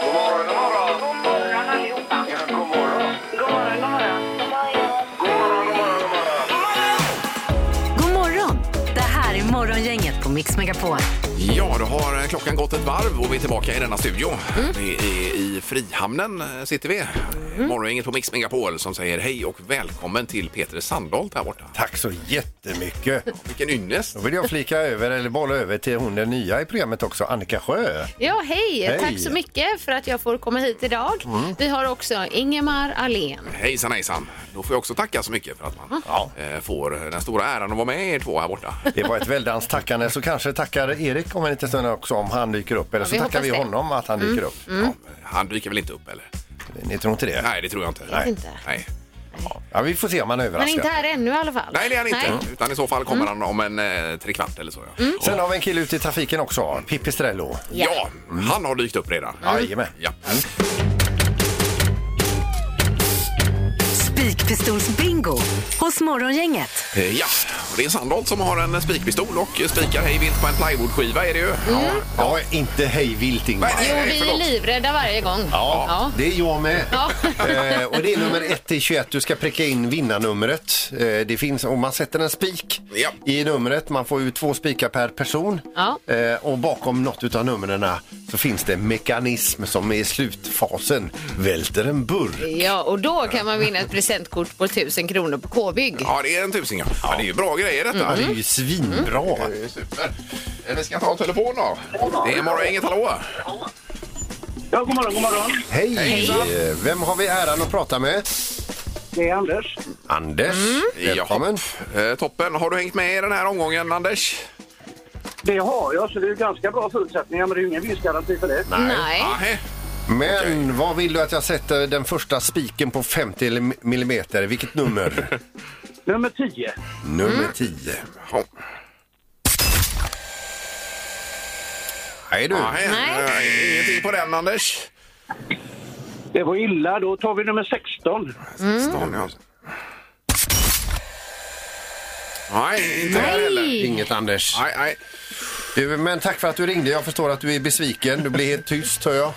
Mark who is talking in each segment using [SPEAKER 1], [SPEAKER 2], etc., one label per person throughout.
[SPEAKER 1] God morgon, god morgon.
[SPEAKER 2] God morgon allihopa.
[SPEAKER 1] Ja, god morgon.
[SPEAKER 2] God morgon, god morgon.
[SPEAKER 1] God morgon, god morgon,
[SPEAKER 3] God
[SPEAKER 1] god morgon.
[SPEAKER 3] morgon! Det här är Morgongänget på Mix Megapol.
[SPEAKER 4] Ja, då har eh, klockan gått ett varv och vi är tillbaka i denna studio.
[SPEAKER 5] Mm.
[SPEAKER 4] Vi är i Frihamnen eh, sitter vi. Morgongänget på Mix Megapol som säger hej och välkommen till Peter Sandholt här borta.
[SPEAKER 6] Tack så jättemycket.
[SPEAKER 4] Vilken ynnest!
[SPEAKER 6] Då vill jag flika över, eller bolla över till hon den nya i programmet också, Annika Sjö.
[SPEAKER 5] Ja, hej.
[SPEAKER 6] Hej.
[SPEAKER 5] Tack så mycket för att jag får komma hit idag.
[SPEAKER 4] Mm.
[SPEAKER 5] Vi har också Ingemar Ahlén.
[SPEAKER 4] Hejsan hejsan! Då får jag också tacka så mycket för att man eh, får den stora äran att vara med er två här borta.
[SPEAKER 6] Det var ett väldans tackande, så kanske tackar Erik om en liten stund också om han dyker upp.
[SPEAKER 5] Ja,
[SPEAKER 6] Eller så
[SPEAKER 5] vi
[SPEAKER 6] tackar
[SPEAKER 5] hoppas
[SPEAKER 6] vi
[SPEAKER 5] det. Mm.
[SPEAKER 6] honom att han dyker upp.
[SPEAKER 4] Ja, han dyker väl inte upp eller?
[SPEAKER 6] Ni tror inte det?
[SPEAKER 4] Nej, det tror jag inte.
[SPEAKER 5] Vet inte.
[SPEAKER 4] Nej.
[SPEAKER 6] Ja, vi får se om han
[SPEAKER 5] Men inte
[SPEAKER 6] överraskar.
[SPEAKER 5] här ännu i alla fall.
[SPEAKER 4] Nej, det är han inte.
[SPEAKER 5] Nej. Mm.
[SPEAKER 4] Utan i så fall kommer han om en eh, trekvart eller så. Ja,
[SPEAKER 6] Sen har vi en kille ute i trafiken också, Pipistrello.
[SPEAKER 5] Mm.
[SPEAKER 4] ja han har dykt upp redan.
[SPEAKER 6] Jajamän.
[SPEAKER 4] Ja.
[SPEAKER 3] Spikpistolsbingo hos Morgongänget.
[SPEAKER 4] Eh, Ja, och det är Sandholt som har en spikpistol och spikar hej vilt på en plywoodskiva är det ju. Ja.
[SPEAKER 6] Ja, inte hej vilt Ingmar.
[SPEAKER 4] Nej.
[SPEAKER 5] Jo, vi är
[SPEAKER 4] förlåt.
[SPEAKER 5] livrädda varje gång.
[SPEAKER 6] Ja, det är jag med.
[SPEAKER 5] Ja.
[SPEAKER 6] Eh, och det är nummer 1 till 21. Du ska pricka in vinnarnumret. Eh, det finns, och man sätter en spik
[SPEAKER 4] Ja.
[SPEAKER 6] i numret. Man får ju två spikar per person.
[SPEAKER 5] Ja.
[SPEAKER 6] Eh, och bakom något av numren så finns det en mekanism som i slutfasen välter en burr.
[SPEAKER 5] Ja, och då kan man vinna ett presentkort på 1000 kronor på K-bygg.
[SPEAKER 4] Ja, det är en tusing. Ja. Ja, Mm. det är ju bra grejer detta.
[SPEAKER 6] Ja, Det är ju svinbra.
[SPEAKER 4] Det är super. Eh, Vi ska ta telefon då. Det är morgon, inget hallå.
[SPEAKER 7] Ja, god morgon, god morgon.
[SPEAKER 6] Hej! Eh, Vem har vi äran att prata med?
[SPEAKER 7] Det är Anders.
[SPEAKER 6] Anders. Välkommen.
[SPEAKER 4] Ja. Eh, toppen. Har du hängt med i den här omgången, Anders?
[SPEAKER 7] Det har jag, så det är ganska bra förutsättningar, men det är ju ingen vinstgaranti för det.
[SPEAKER 5] Nej.
[SPEAKER 4] Nej.
[SPEAKER 6] Men vad vill du att jag sätter den första spiken på 50 millimeter? Vilket nummer?
[SPEAKER 7] Nummer 10.
[SPEAKER 6] nummer 10.
[SPEAKER 4] Ja.
[SPEAKER 6] Nej du.
[SPEAKER 4] Nej.
[SPEAKER 5] Nej.
[SPEAKER 4] eh, Ingenting på den, Anders.
[SPEAKER 7] Det var illa. Då tar vi nummer 16.
[SPEAKER 4] Stan, ja. Nej, inte här heller.
[SPEAKER 5] Nej.
[SPEAKER 6] Inget Anders.
[SPEAKER 4] Nej, nej.
[SPEAKER 6] Du, men tack för att du ringde. Jag förstår att du är besviken. Du blir helt tyst hör jag.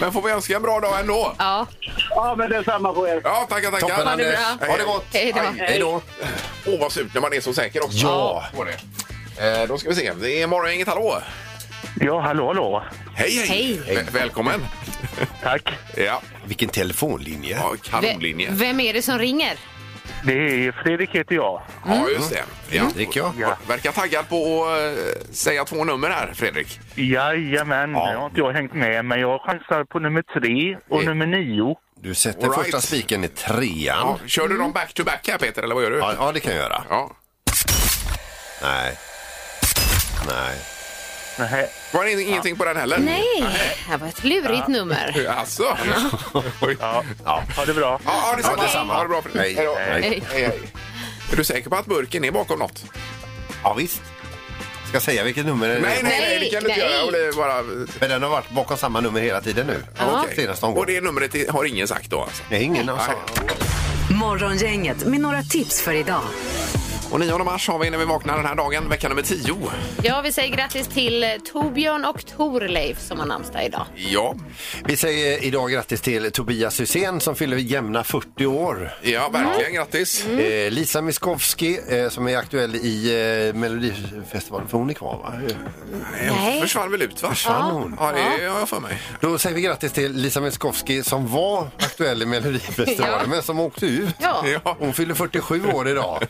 [SPEAKER 4] Men får vi önska en bra dag ändå?
[SPEAKER 5] Ja,
[SPEAKER 7] Ja, men det är samma på er.
[SPEAKER 4] Ja, tackar, tackar.
[SPEAKER 6] Toppen
[SPEAKER 5] det
[SPEAKER 6] Anders.
[SPEAKER 5] bra.
[SPEAKER 6] Ha det gott.
[SPEAKER 5] Hej då.
[SPEAKER 6] Hej då.
[SPEAKER 4] Åh, vad surt när man är så säker också.
[SPEAKER 6] Ja.
[SPEAKER 4] På det. Eh, då ska vi se. Det är Morgongänget, hallå!
[SPEAKER 7] Ja, hallå, hallå.
[SPEAKER 4] Hej, hej!
[SPEAKER 5] Hej.
[SPEAKER 4] Vä- Välkommen!
[SPEAKER 7] Tack.
[SPEAKER 4] Ja,
[SPEAKER 6] Vilken telefonlinje.
[SPEAKER 4] ja
[SPEAKER 5] Ve-
[SPEAKER 4] kanonlinje.
[SPEAKER 5] vem är det som ringer?
[SPEAKER 7] Det är Fredrik heter jag.
[SPEAKER 4] Ja, just det.
[SPEAKER 6] Mm.
[SPEAKER 4] Ja.
[SPEAKER 6] Dricker jag?
[SPEAKER 7] Ja.
[SPEAKER 4] Verkar taggad på att eh, säga två nummer här, Fredrik.
[SPEAKER 7] Jajamän,
[SPEAKER 6] Ja.
[SPEAKER 7] jag har inte jag hängt med, men jag chansar på nummer 3 och
[SPEAKER 4] Eh.
[SPEAKER 7] nummer 9.
[SPEAKER 6] Du sätter
[SPEAKER 4] All right.
[SPEAKER 6] första spiken i trean.
[SPEAKER 4] Ja, kör du dem back-to-back här, Peter, eller vad gör du?
[SPEAKER 6] Mm. Ja, ja, det kan jag göra.
[SPEAKER 4] Ja.
[SPEAKER 6] Nej. Nej.
[SPEAKER 7] Nähä.
[SPEAKER 4] Var det ingenting på den heller?
[SPEAKER 5] Nej, det var ett lurigt nummer.
[SPEAKER 4] Alltså. Oj.
[SPEAKER 7] Ja.
[SPEAKER 6] Ja.
[SPEAKER 7] Ha det bra.
[SPEAKER 4] Ja, ja, detsamma.
[SPEAKER 6] Ja, detsamma.
[SPEAKER 4] Ha det bra.
[SPEAKER 6] Hej.
[SPEAKER 4] då.
[SPEAKER 6] Hej.
[SPEAKER 4] Hej, hej. Är du säker på att burken är bakom något?
[SPEAKER 6] Ja, visst. Ska jag säga vilket nummer det är?
[SPEAKER 4] Nej, nej, nej, det kan du inte
[SPEAKER 5] Eh, Nej.
[SPEAKER 4] göra. Och det är bara...
[SPEAKER 6] Men den har varit bakom samma nummer hela tiden nu.
[SPEAKER 5] Ja.
[SPEAKER 4] Okej.
[SPEAKER 6] Senaste
[SPEAKER 4] Och
[SPEAKER 6] omgången.
[SPEAKER 4] det numret i- har ingen sagt då alltså?
[SPEAKER 6] Nej, ingen har
[SPEAKER 4] Nej.
[SPEAKER 6] sagt.
[SPEAKER 3] Morgongänget med några tips för idag.
[SPEAKER 4] Och 9 mars har vi när vi vaknar den här dagen, vecka nummer 10.
[SPEAKER 5] Ja, vi säger grattis till eh, Torbjörn och Torleif som har namnsdag idag.
[SPEAKER 4] Ja,
[SPEAKER 6] Vi säger idag grattis till Tobias Hysén som fyller jämna 40 år.
[SPEAKER 4] ja verkligen grattis.
[SPEAKER 5] Mm.
[SPEAKER 6] Eh, Lisa Miskovsky eh, som är aktuell i eh, Melodifestivalen, för hon är kvar va?
[SPEAKER 4] Hon försvann väl ut va?
[SPEAKER 6] Försvann hon?
[SPEAKER 4] Ja, det har jag för mig.
[SPEAKER 6] Då säger vi grattis till Lisa Miskovsky som var aktuell i Melodifestivalen
[SPEAKER 5] Ja.
[SPEAKER 6] men som åkte ut.
[SPEAKER 5] Ja. Mm.
[SPEAKER 4] Ja.
[SPEAKER 6] Hon fyller 47 år idag.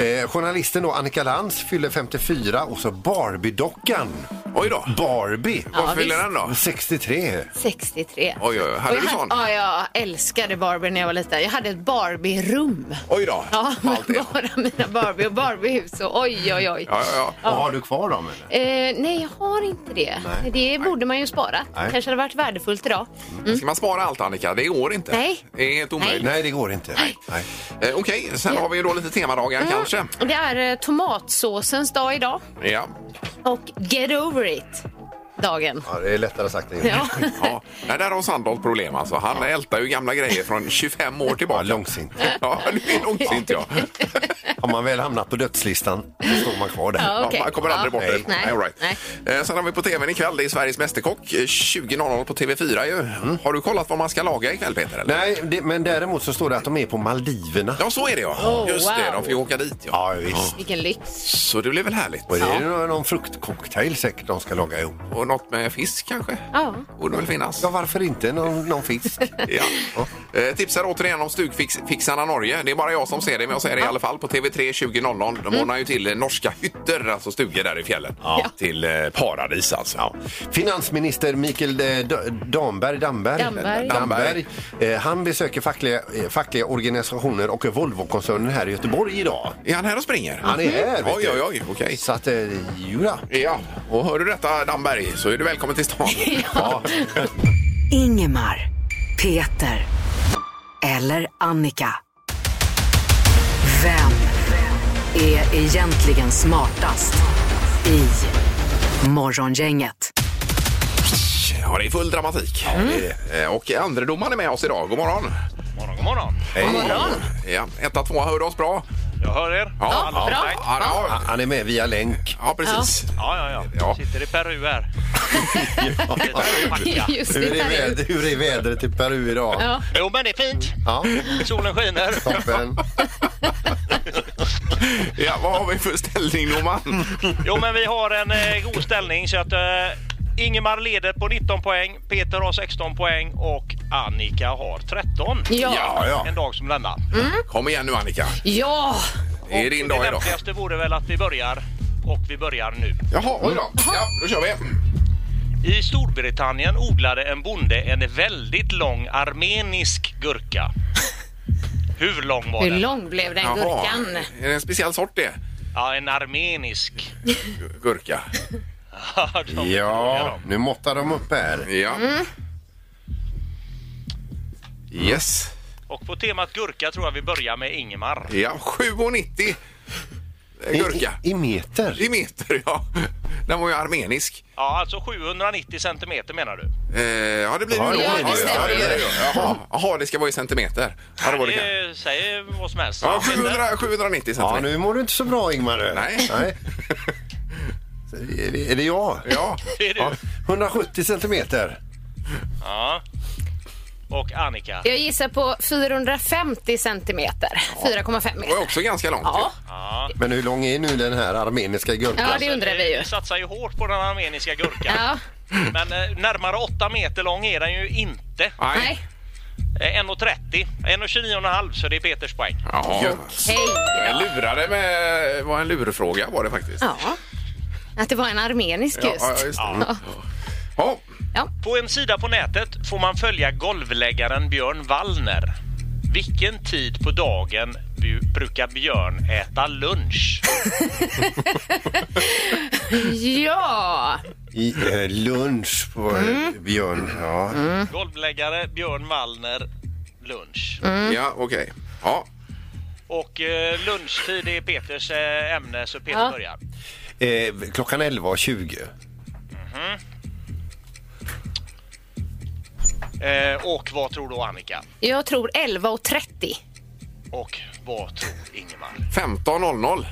[SPEAKER 6] Eh, journalisten då, Annika Lantz fyller 54 och så Barbie-dockan.
[SPEAKER 4] Oj då.
[SPEAKER 6] Barbie!
[SPEAKER 4] Vad fyller
[SPEAKER 5] visst.
[SPEAKER 4] den då?
[SPEAKER 6] 63.
[SPEAKER 5] 63.
[SPEAKER 4] Oj, oj, oj. Hade
[SPEAKER 5] Och
[SPEAKER 4] du
[SPEAKER 5] jag
[SPEAKER 4] sån?
[SPEAKER 5] Ja, jag älskade Barbie när jag var liten. Jag hade ett Barbie-rum.
[SPEAKER 4] Oj då.
[SPEAKER 5] Ja, med
[SPEAKER 4] Allt det. Ja,
[SPEAKER 5] bara mina Barbie och Barbiehus och oj, oj, oj.
[SPEAKER 4] ja, ja.
[SPEAKER 6] Och har du kvar dem eller?
[SPEAKER 5] Eh, nej, jag har inte det.
[SPEAKER 6] Nej.
[SPEAKER 5] Det borde man ju spara.
[SPEAKER 6] Nej.
[SPEAKER 5] kanske hade varit värdefullt idag.
[SPEAKER 4] Ska man spara allt Annika? Det går inte.
[SPEAKER 5] Mm. Nej.
[SPEAKER 4] Det är helt omöjligt.
[SPEAKER 6] Nej, det går inte. Nej.
[SPEAKER 4] Eh, Okej, sen har vi ju då lite temadagar
[SPEAKER 5] Mm.
[SPEAKER 4] kanske.
[SPEAKER 5] Det är eh, tomatsåsens dag idag
[SPEAKER 4] Ja.
[SPEAKER 5] och get over it-dagen.
[SPEAKER 6] Ja, det är lättare sagt än gjort.
[SPEAKER 5] Ja.
[SPEAKER 4] ja. Nej, där har Sandholt problem alltså. Han ältar ju gamla grejer från 25 år
[SPEAKER 6] Ja,
[SPEAKER 4] tillbaka.
[SPEAKER 6] långsint.
[SPEAKER 4] Ja, det är långsint ja.
[SPEAKER 6] Om man väl hamnat på dödslistan så står man kvar där.
[SPEAKER 5] Ja, okej.
[SPEAKER 4] man kommer aldrig
[SPEAKER 5] Ja.
[SPEAKER 4] bort ur det.
[SPEAKER 5] Nej.
[SPEAKER 4] all right. Eh, Sen har vi på tvn ikväll, det är Sveriges Mästerkock. eh, 20.00 på TV4 ju. Har du kollat vad man ska laga ikväll Peter? Eller?
[SPEAKER 6] Nej, det, men däremot så står det att de är på Maldiverna.
[SPEAKER 4] Ja, så är det ja.
[SPEAKER 5] Oh,
[SPEAKER 4] Just det,
[SPEAKER 5] wow.
[SPEAKER 4] de får ju åka dit ja.
[SPEAKER 6] Ja, visst.
[SPEAKER 5] Vilken lyx.
[SPEAKER 4] Så det blir väl härligt.
[SPEAKER 6] Och det är ju någon- någon fruktcocktail säkert de ska laga ihop.
[SPEAKER 4] Och något med fisk kanske?
[SPEAKER 5] Ja.
[SPEAKER 4] Borde väl finnas.
[SPEAKER 6] Ja, varför inte? Någon, någon fisk?
[SPEAKER 4] Ja. Eh, tipsar återigen om Stugfixarna Norge. Det är bara jag som ser det, men jag säger det i alla fall på TV3 20.00.
[SPEAKER 5] Mm.
[SPEAKER 4] De ordnar ju till eh, norska hytter, alltså stugor där i fjällen. Till eh, paradis alltså.
[SPEAKER 6] Finansminister Mikael eh, D- Damberg, Damberg,
[SPEAKER 5] Damberg.
[SPEAKER 6] Damberg, eh, han besöker fackliga, eh, fackliga organisationer och Volvo-koncernen här i Göteborg idag.
[SPEAKER 4] Är han här och springer?
[SPEAKER 6] Han är här, vet
[SPEAKER 4] Mhm. Oj,
[SPEAKER 6] du.
[SPEAKER 4] oj, oj. Okej.
[SPEAKER 6] Så att, eh, jodå.
[SPEAKER 4] Ja, och hör du detta Damberg så är du välkommen till stan.
[SPEAKER 6] Ja.
[SPEAKER 3] Ingemar, Peter eller Annika. Vem är egentligen smartast i Morgongänget?
[SPEAKER 4] Ja, det är full dramatik.
[SPEAKER 5] Mm.
[SPEAKER 4] Eh, Och andredomaren är med oss idag. God morgon.
[SPEAKER 8] morgon, god morgon.
[SPEAKER 6] Hej.
[SPEAKER 4] Ja, etta, tvåa, hör du oss bra?
[SPEAKER 8] Jag hör er.
[SPEAKER 4] Ja,
[SPEAKER 8] Alla
[SPEAKER 5] bra.
[SPEAKER 8] online.
[SPEAKER 4] ja, ja,
[SPEAKER 6] Han är med via länk.
[SPEAKER 4] ja precis.
[SPEAKER 8] Ja, ja, ja.
[SPEAKER 4] Ja.
[SPEAKER 8] Sitter i Peru här. ja.
[SPEAKER 5] Just
[SPEAKER 6] Hur
[SPEAKER 5] det.
[SPEAKER 6] är,
[SPEAKER 5] Här är
[SPEAKER 6] vädret, hur är vädret i Peru idag?
[SPEAKER 5] Ja.
[SPEAKER 8] Jo, men det är fint.
[SPEAKER 6] Ja,
[SPEAKER 8] Solen skiner.
[SPEAKER 6] toppen.
[SPEAKER 4] Ja, vad har vi för ställning, domaren?
[SPEAKER 8] Jo, men vi har en eh, god ställning så att eh, Ingemar leder på 19 poäng, Peter har 16 poäng och Annika har 13.
[SPEAKER 5] Ja.
[SPEAKER 4] ja.
[SPEAKER 8] En dag som denna.
[SPEAKER 4] Kom igen nu, Annika.
[SPEAKER 5] Ja.
[SPEAKER 4] Det är din dag
[SPEAKER 8] det
[SPEAKER 4] idag.
[SPEAKER 8] lämpligaste vore väl att vi börjar och vi börjar nu.
[SPEAKER 4] Jaha, oj
[SPEAKER 5] Mm.
[SPEAKER 4] då. Ja, då kör vi.
[SPEAKER 8] I Storbritannien odlade en bonde en väldigt lång armenisk gurka. Hur lång var
[SPEAKER 5] Hur
[SPEAKER 8] den?
[SPEAKER 5] lång blev den gurkan?
[SPEAKER 4] Är det en speciell sort det?
[SPEAKER 8] Ja, en armenisk.
[SPEAKER 4] Gu- Gurka.
[SPEAKER 8] Ja, de-
[SPEAKER 6] Ja, nu måttar de upp här.
[SPEAKER 4] Ja.
[SPEAKER 5] Mm.
[SPEAKER 4] Yes.
[SPEAKER 8] Och på temat gurka tror jag vi börjar med Ingemar.
[SPEAKER 4] Ja, 7,90 eh,
[SPEAKER 6] I,
[SPEAKER 4] gurka.
[SPEAKER 6] i, i meter?
[SPEAKER 4] I meter, ja. Den var ju armenisk.
[SPEAKER 8] Ja, alltså 790 centimeter menar du?
[SPEAKER 4] Eh, ja, det blir
[SPEAKER 6] Ja,
[SPEAKER 4] ju då.
[SPEAKER 6] ja, det
[SPEAKER 5] stämmer ju.
[SPEAKER 4] det gör. Jaha. Jaha, det ska vara i centimeter. Ja, det var det kanske.
[SPEAKER 8] Eh, Säg vad som helst.
[SPEAKER 4] Ja, 700, 790
[SPEAKER 6] Ja,
[SPEAKER 4] centimeter.
[SPEAKER 6] nu mår du inte så bra Ingmar.
[SPEAKER 4] Nej.
[SPEAKER 6] Så Är, det, är det jag?
[SPEAKER 4] Ja,
[SPEAKER 8] Det är du.
[SPEAKER 6] Ja, 170 centimeter.
[SPEAKER 8] Ja. Och Annika.
[SPEAKER 5] Jag gissar på 450 centimeter. 4,5
[SPEAKER 4] det var
[SPEAKER 5] meter.
[SPEAKER 4] också ganska långt.
[SPEAKER 5] Ja.
[SPEAKER 8] Ja. Alltså,
[SPEAKER 6] Men hur lång är nu den här armeniska gurkan?
[SPEAKER 5] Ja, det undrar vi ju.
[SPEAKER 8] Vi satsar ju hårt på den armeniska gurkan.
[SPEAKER 5] Ja.
[SPEAKER 8] Men eh, närmare 8 meter lång är den ju inte.
[SPEAKER 5] Nej.
[SPEAKER 8] Eh, 1,30. 1,29,5 så det är Peters poäng.
[SPEAKER 4] Ja.
[SPEAKER 5] Hej.
[SPEAKER 4] Jag lurade med... var en lurfråga var det faktiskt.
[SPEAKER 5] Ja. Att det var en armenisk
[SPEAKER 4] Ja, ja,
[SPEAKER 5] just.
[SPEAKER 4] just det.
[SPEAKER 8] Ja.
[SPEAKER 4] Ja.
[SPEAKER 8] På en sida på nätet får man följa golvläggaren Björn Wallner. Vilken tid på dagen bu- brukar Björn äta lunch?
[SPEAKER 5] Ja.
[SPEAKER 6] I eh, lunch på
[SPEAKER 8] Mm.
[SPEAKER 6] eh, Björn. Ja.
[SPEAKER 8] Golvläggare Björn Wallner, lunch.
[SPEAKER 5] Mm.
[SPEAKER 4] Ja, okej. Ja.
[SPEAKER 8] Och eh, lunchtid är Peters eh, ämne, så Peter
[SPEAKER 5] Ja.
[SPEAKER 8] börjar.
[SPEAKER 6] Eh, klockan 11.20.
[SPEAKER 8] Eh, och vad tror då Annika?
[SPEAKER 5] Jag tror 11.30.
[SPEAKER 8] Och vad tror Ingemar?
[SPEAKER 4] 15.00.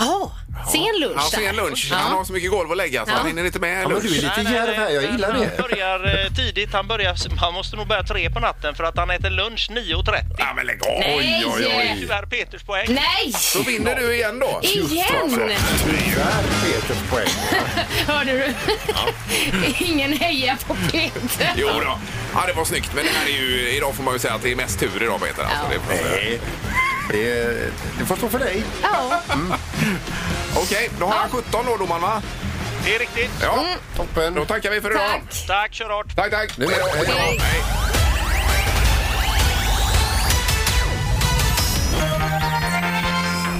[SPEAKER 5] Ja. Sen lunch.
[SPEAKER 4] Han ser en
[SPEAKER 5] där.
[SPEAKER 4] lunch. Han har så mycket golv att lägga så han hinner inte med
[SPEAKER 6] Ja, men
[SPEAKER 4] lunch.
[SPEAKER 6] du är lite
[SPEAKER 8] Nej, nej,
[SPEAKER 6] djärv här, jag
[SPEAKER 8] nej,
[SPEAKER 6] gillar
[SPEAKER 8] han
[SPEAKER 6] det.
[SPEAKER 8] börjar eh, tidigt. Han, börjar, han måste nog börja tre på natten för att han äter lunch 9.30.
[SPEAKER 4] Ja, men lägg av!
[SPEAKER 5] Nej.
[SPEAKER 4] Oj, oj, oj.
[SPEAKER 8] Tyvärr Peters poäng.
[SPEAKER 5] Nej!
[SPEAKER 4] Då vinner du igen då.
[SPEAKER 5] Igen!
[SPEAKER 4] alltså.
[SPEAKER 6] Tyvärr Peters poäng.
[SPEAKER 5] Hörde du? Ingen heja på Peter.
[SPEAKER 4] Jo då. Ja, det var snyggt. Men det här är ju, idag får man ju säga att det är mest tur idag Peter. Alltså, det får man säga.
[SPEAKER 6] Nej. Det, är- det får stå för dig.
[SPEAKER 5] Ja.
[SPEAKER 4] Okej, då har han 17 då domaren va?
[SPEAKER 8] Det är riktigt.
[SPEAKER 4] Ja,
[SPEAKER 6] Toppen.
[SPEAKER 4] då tackar vi för idag.
[SPEAKER 5] Mm. Tack.
[SPEAKER 8] Tack, kör hårt.
[SPEAKER 4] Tack, tack.
[SPEAKER 6] Nu är det-
[SPEAKER 4] Hej då.
[SPEAKER 5] Hej.
[SPEAKER 4] Hej.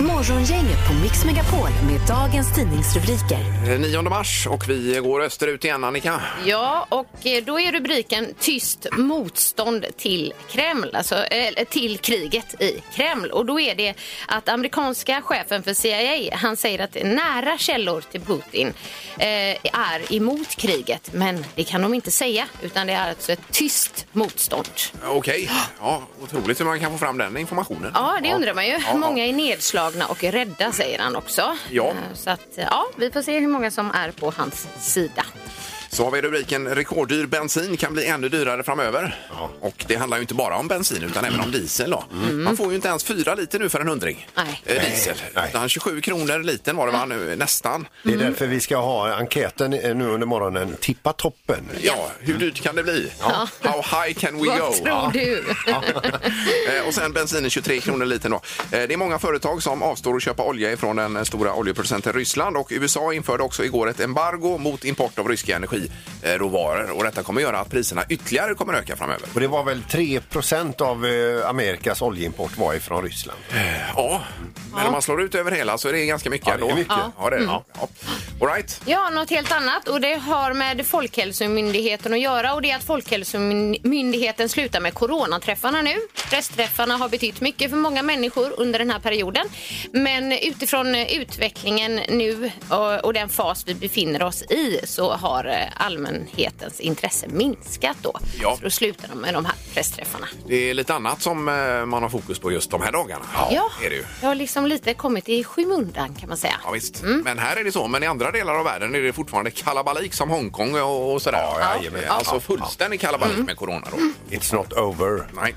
[SPEAKER 3] Morgongänget på Mix Megapol med dagens tidningsrubriker.
[SPEAKER 4] Eh, 9 mars och vi går österut igen Annika.
[SPEAKER 5] Ja, och eh, då är rubriken Tyst motstånd till Kreml, alltså eh, till kriget i Kreml. Och då är det att amerikanska chefen för CIA, han säger att nära källor till Putin eh, är emot kriget, men det kan de inte säga, utan det är alltså ett tyst motstånd.
[SPEAKER 4] Okej, ja, otroligt hur man kan få fram den informationen.
[SPEAKER 5] Ja, det undrar man ju.
[SPEAKER 4] Ja, ja.
[SPEAKER 5] Många är nedslagna och rädda, säger han också.
[SPEAKER 4] Ja.
[SPEAKER 5] Eh, Så att, ja, vi får se hur många som är på hans sida.
[SPEAKER 4] Så har vi rubriken rekorddyr bensin kan bli ännu dyrare framöver. Och det handlar ju inte bara om bensin utan även om diesel. Då. Man får ju inte ens fyra liter nu för en hundring.
[SPEAKER 5] Nej. Mm.
[SPEAKER 4] Eh, Diesel.
[SPEAKER 6] Nej.
[SPEAKER 4] Utan 27 kronor liten var det va nu, nästan.
[SPEAKER 6] Det är därför vi ska ha enkäten eh, nu under morgonen. Tippa toppen.
[SPEAKER 4] Ja, hur dyrt kan det bli? How high can we
[SPEAKER 5] Mm. Vad
[SPEAKER 4] go?
[SPEAKER 5] tror du?
[SPEAKER 4] Eh, Och sen bensinen 23 kronor liten då. Eh, Det är många företag som avstår att köpa olja ifrån den stora oljeproducenten Ryssland och USA införde också igår ett embargo mot import av ryska energiråvaror och detta kommer göra att priserna ytterligare kommer öka framöver.
[SPEAKER 6] Och det var väl 3 av eh, Amerikas oljeimport var ifrån Ryssland.
[SPEAKER 4] Ja, men om man slår ut över hela så är det ganska mycket.
[SPEAKER 6] Ja, det är
[SPEAKER 4] ändå.
[SPEAKER 6] mycket. Mm.
[SPEAKER 4] Ja, det är det. Ja. All right.
[SPEAKER 5] Ja, något helt annat och det har med Folkhälsomyndigheten att göra och det är att Folkhälsomyndigheten slutar med coronaträffarna nu. Pressträffarna har betytt mycket för många människor under den här perioden. Men utifrån eh, utvecklingen nu och- och den fas vi befinner oss i så har eh, allmänhetens intresse minskat då.
[SPEAKER 4] Ja.
[SPEAKER 5] Så då slutar de med de här pressträffarna.
[SPEAKER 4] Det är lite annat som eh, man har fokus på just de här dagarna. Det är det ju.
[SPEAKER 5] det har liksom lite kommit i skymundan kan man säga.
[SPEAKER 4] Ja, visst.
[SPEAKER 6] Mm.
[SPEAKER 4] Men här är det så, men i andra delar av världen är det fortfarande kalabalik som Hongkong och, och sådär.
[SPEAKER 6] Ja, jajamän. Mm.
[SPEAKER 4] Eh, Alltså fullständig kalabalik med corona då.
[SPEAKER 6] It's not over.
[SPEAKER 4] Nej.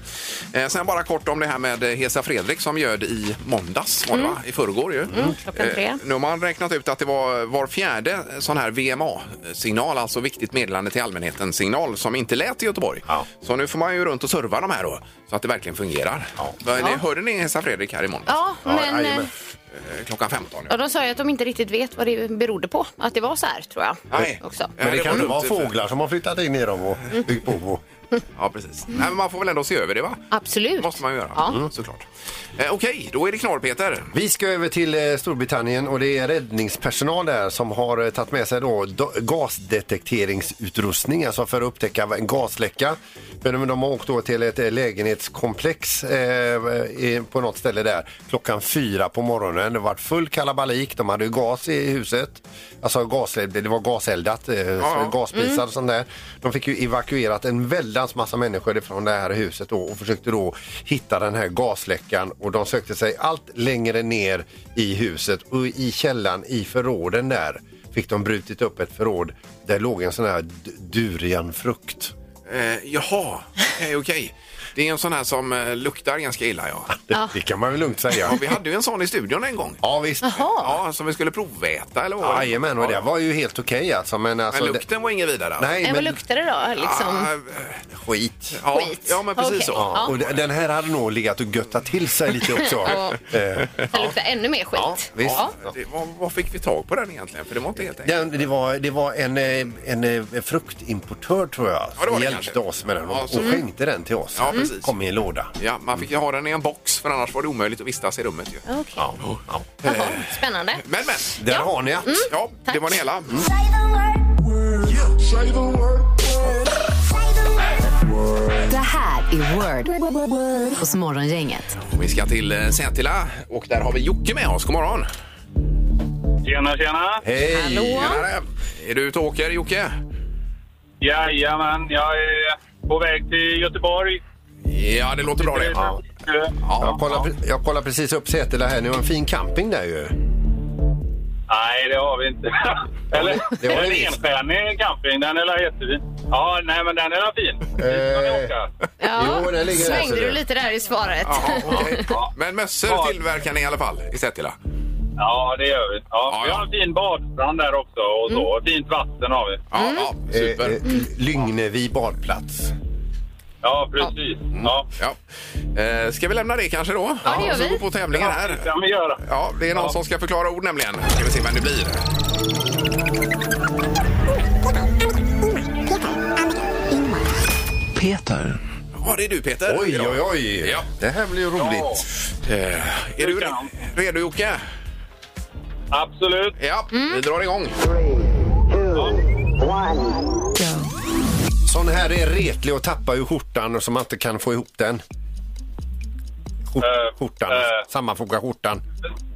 [SPEAKER 4] Eh, sen bara kort om det här med eh, Hesa Fredrik som göd i måndags, var det
[SPEAKER 6] Mm.
[SPEAKER 4] va? I förrgår ju. Eh,
[SPEAKER 5] klockan tre.
[SPEAKER 4] nu har man räknat ut att det var var fjärde sån här VMA-signal, alltså viktigt meddelande till allmänheten-signal, som inte lät i Göteborg.
[SPEAKER 6] Ja.
[SPEAKER 4] Så nu får man ju runt och serva de här då, så att det verkligen fungerar.
[SPEAKER 6] Ja.
[SPEAKER 4] Men, eh, Hörde ni Hesa Fredrik här i måndags?
[SPEAKER 5] Ja,
[SPEAKER 6] Ja,
[SPEAKER 5] men... eh,
[SPEAKER 6] jajamän.
[SPEAKER 4] Eh, Klockan 15.
[SPEAKER 5] Ja, de sa ju att de inte riktigt vet vad det berodde på, att det var så här, tror jag.
[SPEAKER 4] Nej.
[SPEAKER 5] Också.
[SPEAKER 4] Ja,
[SPEAKER 6] Men det kan
[SPEAKER 4] var
[SPEAKER 6] ju vara
[SPEAKER 4] dumt, för-
[SPEAKER 6] fåglar som har flyttat in i dem och byggt bo. Och...
[SPEAKER 4] Ja, precis. Nej, men man får väl ändå se över det, va? Det
[SPEAKER 5] Absolut.
[SPEAKER 4] måste man ju göra,
[SPEAKER 5] Ja.
[SPEAKER 4] Mm, såklart. Eh, Okej, då är det knorr, Peter.
[SPEAKER 6] Vi ska över till eh, Storbritannien och det är räddningspersonal där som har eh, tagit med sig då do- gasdetekteringsutrustning alltså för att upptäcka en gasläcka. Men de har åkt då till ett eh, lägenhetskomplex eh, eh, på något ställe där klockan fyra på morgonen. Det var full kalabalik, de hade ju gas i huset. Alltså gaseld, det var gaseldat, eh,
[SPEAKER 4] ja.
[SPEAKER 6] gaspisar och sånt där. De fick ju evakuerat en väldans massa människor ifrån det här huset då och försökte då hitta den här gasläckan och de sökte sig allt längre ner i huset och i källan i förråden där fick de brutit upp ett förråd där låg en sån här d- durianfrukt.
[SPEAKER 4] Eh, jaha, okej. okej. Det är en sån här som eh, luktar ganska illa, ja.
[SPEAKER 6] Det, det kan man väl lugnt
[SPEAKER 4] ja.
[SPEAKER 6] säga.
[SPEAKER 4] Vi hade ju en sån i studion en gång.
[SPEAKER 6] Ja visst.
[SPEAKER 4] Ja, som vi skulle proväta eller vad? var det?
[SPEAKER 6] Jajamän, och det var ju helt okej alltså. Men, alltså
[SPEAKER 4] Men lukten var ingen vidare.
[SPEAKER 6] det,
[SPEAKER 4] alltså.
[SPEAKER 6] nej,
[SPEAKER 5] Men vad
[SPEAKER 6] men
[SPEAKER 5] luktar det då? Liksom?
[SPEAKER 4] Ah, eh,
[SPEAKER 6] skit.
[SPEAKER 4] ja,
[SPEAKER 5] Skit.
[SPEAKER 4] ja, men precis
[SPEAKER 5] Okej.
[SPEAKER 4] så.
[SPEAKER 6] Ja. Och den den här hade nog legat och göttat till sig lite också.
[SPEAKER 5] Ja.
[SPEAKER 6] Eh,
[SPEAKER 5] Det luktar ännu mer skit.
[SPEAKER 6] ja, visst.
[SPEAKER 5] Ja.
[SPEAKER 4] Eh, Det, vad, vad fick vi tag på den egentligen? För det var inte helt enkelt.
[SPEAKER 6] Den, det var, det var en, eh, en eh, fruktimportör tror jag
[SPEAKER 4] Ja, det var
[SPEAKER 6] som
[SPEAKER 4] det
[SPEAKER 6] hjälpte
[SPEAKER 4] kanske.
[SPEAKER 6] oss med den och,
[SPEAKER 4] Ja, så-
[SPEAKER 6] och skänkte den till oss.
[SPEAKER 4] Ja, precis.
[SPEAKER 6] Kom i en låda.
[SPEAKER 4] Ja, man fick ju ha den i en box för annars var det omöjligt att vistas i rummet ju.
[SPEAKER 5] Okej.
[SPEAKER 6] Ja. Ja.
[SPEAKER 5] Jaha, Spännande.
[SPEAKER 4] Men men,
[SPEAKER 6] Där har ni att.
[SPEAKER 4] ja, Mm. det var det hela. Mm.
[SPEAKER 3] Det här är Word hos Morgongänget.
[SPEAKER 4] Och vi ska till eh, Sätila och där har vi Jocke med oss. God morgon!
[SPEAKER 7] Tjena, tjena!
[SPEAKER 6] Hej!
[SPEAKER 5] Hallå?
[SPEAKER 4] Tjenare. Är du ute och åker Jocke?
[SPEAKER 7] Jajamän, jag är på väg till Göteborg.
[SPEAKER 4] Ja, det låter bra det.
[SPEAKER 7] Ja.
[SPEAKER 6] Jag, kollar, pre- jag kollar precis upp Sätila här nu. En fin camping där ju.
[SPEAKER 7] Nej, det har vi inte. Eller?
[SPEAKER 6] Det har
[SPEAKER 7] en
[SPEAKER 6] vi visst.
[SPEAKER 7] enstjärnig camping, den är väl jättefin. Ja, nej men den är väl fin. Dit ska vi
[SPEAKER 6] Eh.
[SPEAKER 7] åka.
[SPEAKER 5] Ja.
[SPEAKER 6] Jo, där ligger den,
[SPEAKER 5] Svängde
[SPEAKER 6] ser
[SPEAKER 5] du
[SPEAKER 6] du.
[SPEAKER 5] lite där i svaret?
[SPEAKER 4] Ja, okej.
[SPEAKER 7] Ja.
[SPEAKER 4] Men
[SPEAKER 7] Ja.
[SPEAKER 4] mössor tillverkar ni i alla fall i Sätila?
[SPEAKER 7] Ja, det gör vi. Ja,
[SPEAKER 4] Ja,
[SPEAKER 7] vi
[SPEAKER 4] ja.
[SPEAKER 7] har en fin badstrand där också och så. Fint vatten har vi.
[SPEAKER 4] Ja,
[SPEAKER 5] Mm.
[SPEAKER 4] ja super. Mm.
[SPEAKER 6] Eh, eh, Lygnevi badplats.
[SPEAKER 7] Ja, precis. Ja,
[SPEAKER 4] Ja. Eh, ska vi lämna det kanske då?
[SPEAKER 5] Ja, det gör
[SPEAKER 4] Så
[SPEAKER 5] vi.
[SPEAKER 4] går på tävlingen här.
[SPEAKER 7] det kan vi göra.
[SPEAKER 4] Ja, det är någon som ska förklara ord nämligen. Ska vi se vem det blir.
[SPEAKER 9] Peter.
[SPEAKER 4] Ja, det är du Peter.
[SPEAKER 6] Oj, oj, oj!
[SPEAKER 4] Ja.
[SPEAKER 6] Det här blir ju roligt.
[SPEAKER 4] Eh, är du re-
[SPEAKER 7] kan.
[SPEAKER 4] redo Jocke?
[SPEAKER 7] Absolut.
[SPEAKER 4] Ja,
[SPEAKER 5] Mm.
[SPEAKER 4] vi drar igång.
[SPEAKER 6] Sån här är retlig och tappar ju skjortan så man inte kan få ihop den. Skjort,
[SPEAKER 7] Eh,
[SPEAKER 6] skjortan.
[SPEAKER 7] eh.
[SPEAKER 6] Sammanfoga skjortan.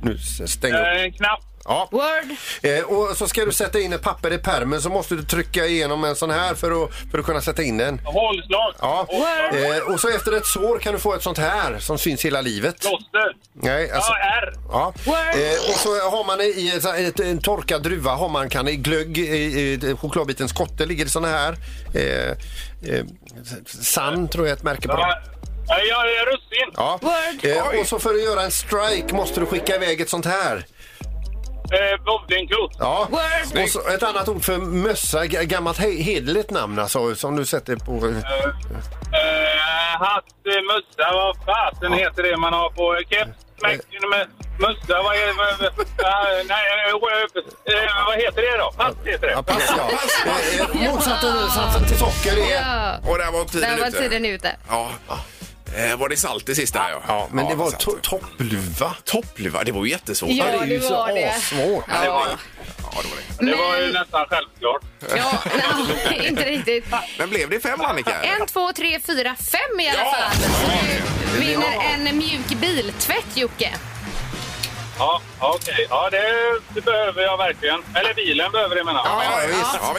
[SPEAKER 6] Nu s- stäng upp.
[SPEAKER 7] Eh, En knapp.
[SPEAKER 6] Ja.
[SPEAKER 5] Word.
[SPEAKER 6] Eh, och så ska du sätta in ett papper i pärmen så måste du trycka igenom en sån här för att, för att kunna sätta in den.
[SPEAKER 7] Hålslag.
[SPEAKER 6] Ja.
[SPEAKER 5] Word.
[SPEAKER 6] Eh, och så efter ett sår kan du få ett sånt här som syns hela livet.
[SPEAKER 7] Plåster.
[SPEAKER 6] Nej, alltså.
[SPEAKER 7] Ja, R.
[SPEAKER 6] Ja.
[SPEAKER 5] Word.
[SPEAKER 6] Eh, och så har man i ett, ett, en torkad druva har man kan i glögg, i, i chokladbitens kotte ligger det såna här. Eh, eh, sand tror jag är ett märke på.
[SPEAKER 7] Ja,
[SPEAKER 6] det.
[SPEAKER 7] ja, ja, russin.
[SPEAKER 6] Ja.
[SPEAKER 5] Word.
[SPEAKER 6] Eh, och så för att göra en strike måste du skicka iväg ett sånt här.
[SPEAKER 7] Eh, Bowlingklot.
[SPEAKER 6] Ja.
[SPEAKER 5] Word.
[SPEAKER 6] Och så ett annat ord för mössa, g- gammalt he- hederligt namn alltså, som du sätter på...
[SPEAKER 7] Eh, hatt, eh, mössa, vad fasen heter det man har på? eh, Keps, smäck, med mössa, vad är det? Uh, nej, eh, eh, vad heter det då? Hatt heter
[SPEAKER 6] Ja,
[SPEAKER 7] det.
[SPEAKER 6] pass ja. Eh, eh, Motsatsen satsen till socker är...
[SPEAKER 5] Ja.
[SPEAKER 4] Och där var tiden
[SPEAKER 5] Där var
[SPEAKER 4] ute.
[SPEAKER 5] tiden ute.
[SPEAKER 4] Ja. Eh, var det salt det sista? här, Ja,
[SPEAKER 6] Ja, men det var
[SPEAKER 4] salt.
[SPEAKER 6] to- toppluva.
[SPEAKER 4] Toppluva, det var ju jättesvårt.
[SPEAKER 5] Ja,
[SPEAKER 6] det är ju
[SPEAKER 5] det
[SPEAKER 6] så
[SPEAKER 5] var det.
[SPEAKER 6] assvårt.
[SPEAKER 4] Ja, det var det. Ja, det var det.
[SPEAKER 7] Det var ju nästan självklart.
[SPEAKER 5] Ja, nej, inte riktigt.
[SPEAKER 4] Men blev det fem, Annika?
[SPEAKER 5] En, två, tre, fyra, fem i alla
[SPEAKER 4] Ja!
[SPEAKER 5] fall. Du vinner en mjuk biltvätt, Jocke.
[SPEAKER 7] Ja, okej. Ja, det, det behöver jag verkligen. Eller bilen behöver det menar jag.
[SPEAKER 4] Ja, ja, ja, visst. Ja,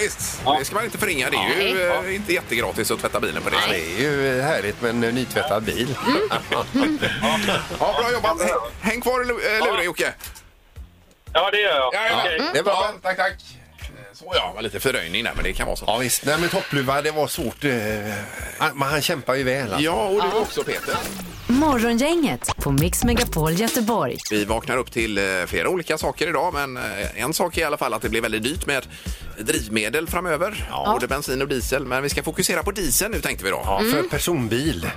[SPEAKER 4] visst. Det ska man inte förringa. Det är ju eh, inte jättegratis att tvätta bilen på det
[SPEAKER 6] Det
[SPEAKER 4] sättet.
[SPEAKER 6] är ju härligt med en nytvättad bil.
[SPEAKER 5] Mm.
[SPEAKER 4] Ja, bra jobbat. Häng- Häng kvar i lu- eh, luren, Jocke.
[SPEAKER 7] Ja, det gör jag. Okej.
[SPEAKER 6] Det var bra.
[SPEAKER 4] tack, tack. Eh, Så ja, var lite fördröjning där, men det kan vara så.
[SPEAKER 6] Ja, visst. Nej, men toppluva, det var svårt. eh, Han, men han kämpar ju väl. Alltså.
[SPEAKER 4] Ja, och du också, Peter.
[SPEAKER 3] Morgongänget på Mix Megapol Göteborg.
[SPEAKER 4] Vi vaknar upp till eh, flera olika saker idag, men eh, en sak är i alla fall att det blir väldigt dyrt med drivmedel framöver. Både bensin och diesel. Men vi ska fokusera på diesel nu tänkte vi då.
[SPEAKER 6] Ja,
[SPEAKER 5] Mm.
[SPEAKER 6] för personbil.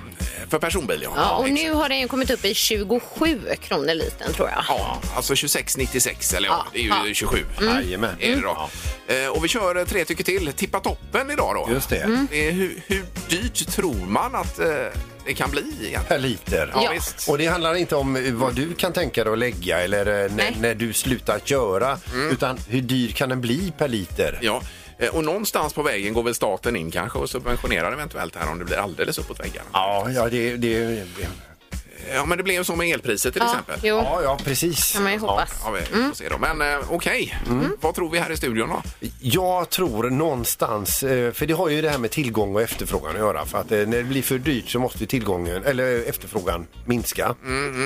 [SPEAKER 4] För personbil, ja.
[SPEAKER 5] Ja, och
[SPEAKER 4] exakt.
[SPEAKER 5] nu har den ju kommit upp i 27 kronor litern, tror jag.
[SPEAKER 4] Ja, alltså 26,96 eller ja,
[SPEAKER 5] Ja,
[SPEAKER 4] det är ju
[SPEAKER 5] ja. Mm.
[SPEAKER 4] 27.
[SPEAKER 6] Jajamän.
[SPEAKER 4] Är det då. Eh, Och vi kör eh, tre tycker till. Tippa toppen idag då.
[SPEAKER 6] Just det.
[SPEAKER 5] Mm.
[SPEAKER 4] Det är Hur, hur dyrt tror man att eh, det kan bli egentligen?
[SPEAKER 6] Per liter.
[SPEAKER 4] Ja,
[SPEAKER 5] Ja.
[SPEAKER 4] visst.
[SPEAKER 6] Och det handlar inte om eh, vad du kan tänka dig att lägga eller eh, när,
[SPEAKER 5] Nej.
[SPEAKER 6] när du slutar köra,
[SPEAKER 4] Mm.
[SPEAKER 6] utan hur dyr kan den bli per liter?
[SPEAKER 4] Ja. eh, Och någonstans på vägen går väl staten in kanske och subventionerar eventuellt här om det blir alldeles uppåt väggarna.
[SPEAKER 6] Ja, ja, det, det,
[SPEAKER 4] Ja, men det blev ju så med elpriset till exempel.
[SPEAKER 5] jo, Mm.
[SPEAKER 6] ja, ja precis.
[SPEAKER 5] kan man ju hoppas.
[SPEAKER 4] Ja, vi får se då. Men eh, okej,
[SPEAKER 5] Mm.
[SPEAKER 4] vad tror vi här i studion då?
[SPEAKER 6] Jag tror någonstans, eh, för det har ju det här med tillgång och efterfrågan att göra. För att eh, när det blir för dyrt så måste ju tillgången, eller efterfrågan minska.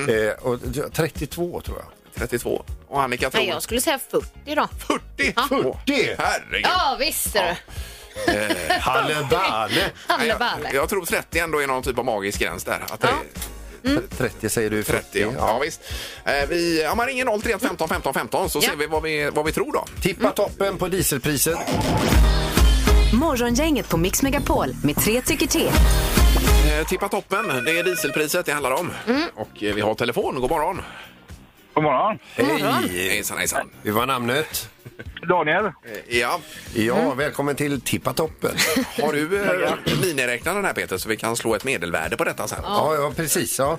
[SPEAKER 6] Eh, och 32 tror jag.
[SPEAKER 4] 32. Och Annika tror
[SPEAKER 5] Nej, jag skulle säga 40 då.
[SPEAKER 4] 40!
[SPEAKER 5] Ja.
[SPEAKER 6] 40?
[SPEAKER 4] Herregud!
[SPEAKER 5] Ja, visst du.
[SPEAKER 6] Halle balle!
[SPEAKER 4] Nej,
[SPEAKER 5] Halleballe.
[SPEAKER 4] jag, jag tror 30 ändå är någon typ av magisk gräns där. Att det,
[SPEAKER 6] 30 säger du, 40.
[SPEAKER 4] 30, ja. ja visst. Eh, vi, ja, man ringer 031 15 15 15 så
[SPEAKER 5] Ja.
[SPEAKER 4] ser vi vad, vi vad vi tror då.
[SPEAKER 6] Tippa toppen på dieselpriset.
[SPEAKER 3] Morgongänget på Mix Megapol med tre tycker till.
[SPEAKER 4] Eh, tippa toppen, det är dieselpriset det handlar om.
[SPEAKER 5] Mm.
[SPEAKER 4] Och eh, vi har telefon, god morgon.
[SPEAKER 7] God morgon.
[SPEAKER 6] Hej!
[SPEAKER 4] Hejsan hejsan.
[SPEAKER 6] Hur var namnet?
[SPEAKER 7] Daniel.
[SPEAKER 4] Eh, Ja,
[SPEAKER 6] Ja, välkommen till Tippa toppen.
[SPEAKER 4] har du eh, miniräknaren här Peter så vi kan slå ett medelvärde på detta sen?
[SPEAKER 6] ja, ja, precis. Ja.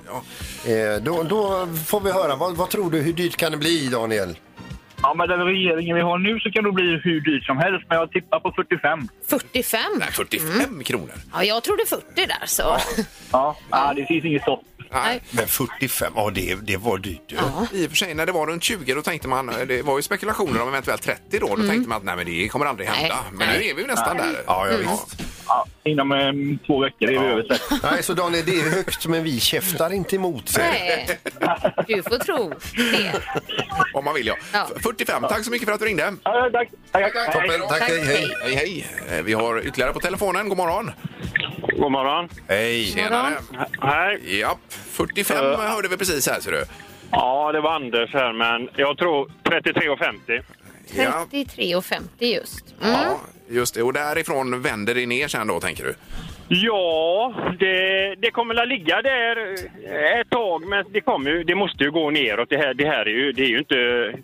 [SPEAKER 6] Eh, då, då får vi höra. Vad, vad tror du, hur dyrt kan det bli, Daniel?
[SPEAKER 7] Ja, men den regeringen vi har nu så kan det bli hur dyrt som helst, men jag tippar på 45.
[SPEAKER 5] 45?
[SPEAKER 4] Nej, 45
[SPEAKER 5] Mm.
[SPEAKER 4] kronor.
[SPEAKER 5] Ja, jag trodde 40 där, så.
[SPEAKER 7] Ja, ah, det finns inget stopp.
[SPEAKER 4] Nej.
[SPEAKER 6] Men 45, ja det, det var dyrt. du.
[SPEAKER 4] I och för sig när det var runt 20 då tänkte man, eh, det var ju spekulationer om eventuellt 30 då, då tänkte man att nej men det kommer aldrig hända.
[SPEAKER 5] Mm. Nej.
[SPEAKER 4] Men nu är vi ju nästan där.
[SPEAKER 6] Ja, ja visst.
[SPEAKER 7] Ja, inom em, två veckor är vi över 30.
[SPEAKER 6] Nej, så Daniel, det är högt men vi käftar inte emot. säger du.
[SPEAKER 5] Nej, du får tro det.
[SPEAKER 4] Om man vill ja.
[SPEAKER 5] Ja.
[SPEAKER 4] 45, tack så mycket för att du ringde.
[SPEAKER 7] Ja, tack. Tack,
[SPEAKER 6] Toppen, tack,
[SPEAKER 5] Tack,
[SPEAKER 6] hej, hej.
[SPEAKER 4] Hej hej. Eh, Vi har ytterligare på telefonen, god morgon.
[SPEAKER 7] God morgon.
[SPEAKER 6] Hej.
[SPEAKER 4] Tjenare.
[SPEAKER 7] Hej.
[SPEAKER 4] Ja, 45
[SPEAKER 7] Eh.
[SPEAKER 4] hörde vi precis här ser du.
[SPEAKER 7] Ja, det var Anders här, men jag tror 33,50.
[SPEAKER 4] Ja,
[SPEAKER 5] 33,50 just.
[SPEAKER 4] ja, just det. Och därifrån vänder det ner sen då tänker du?
[SPEAKER 7] Ja, det, det kommer att ligga där eh, ett tag, men det, kommer, ju- det måste ju gå neråt. Det här, det här är, ju, det är, ju, inte,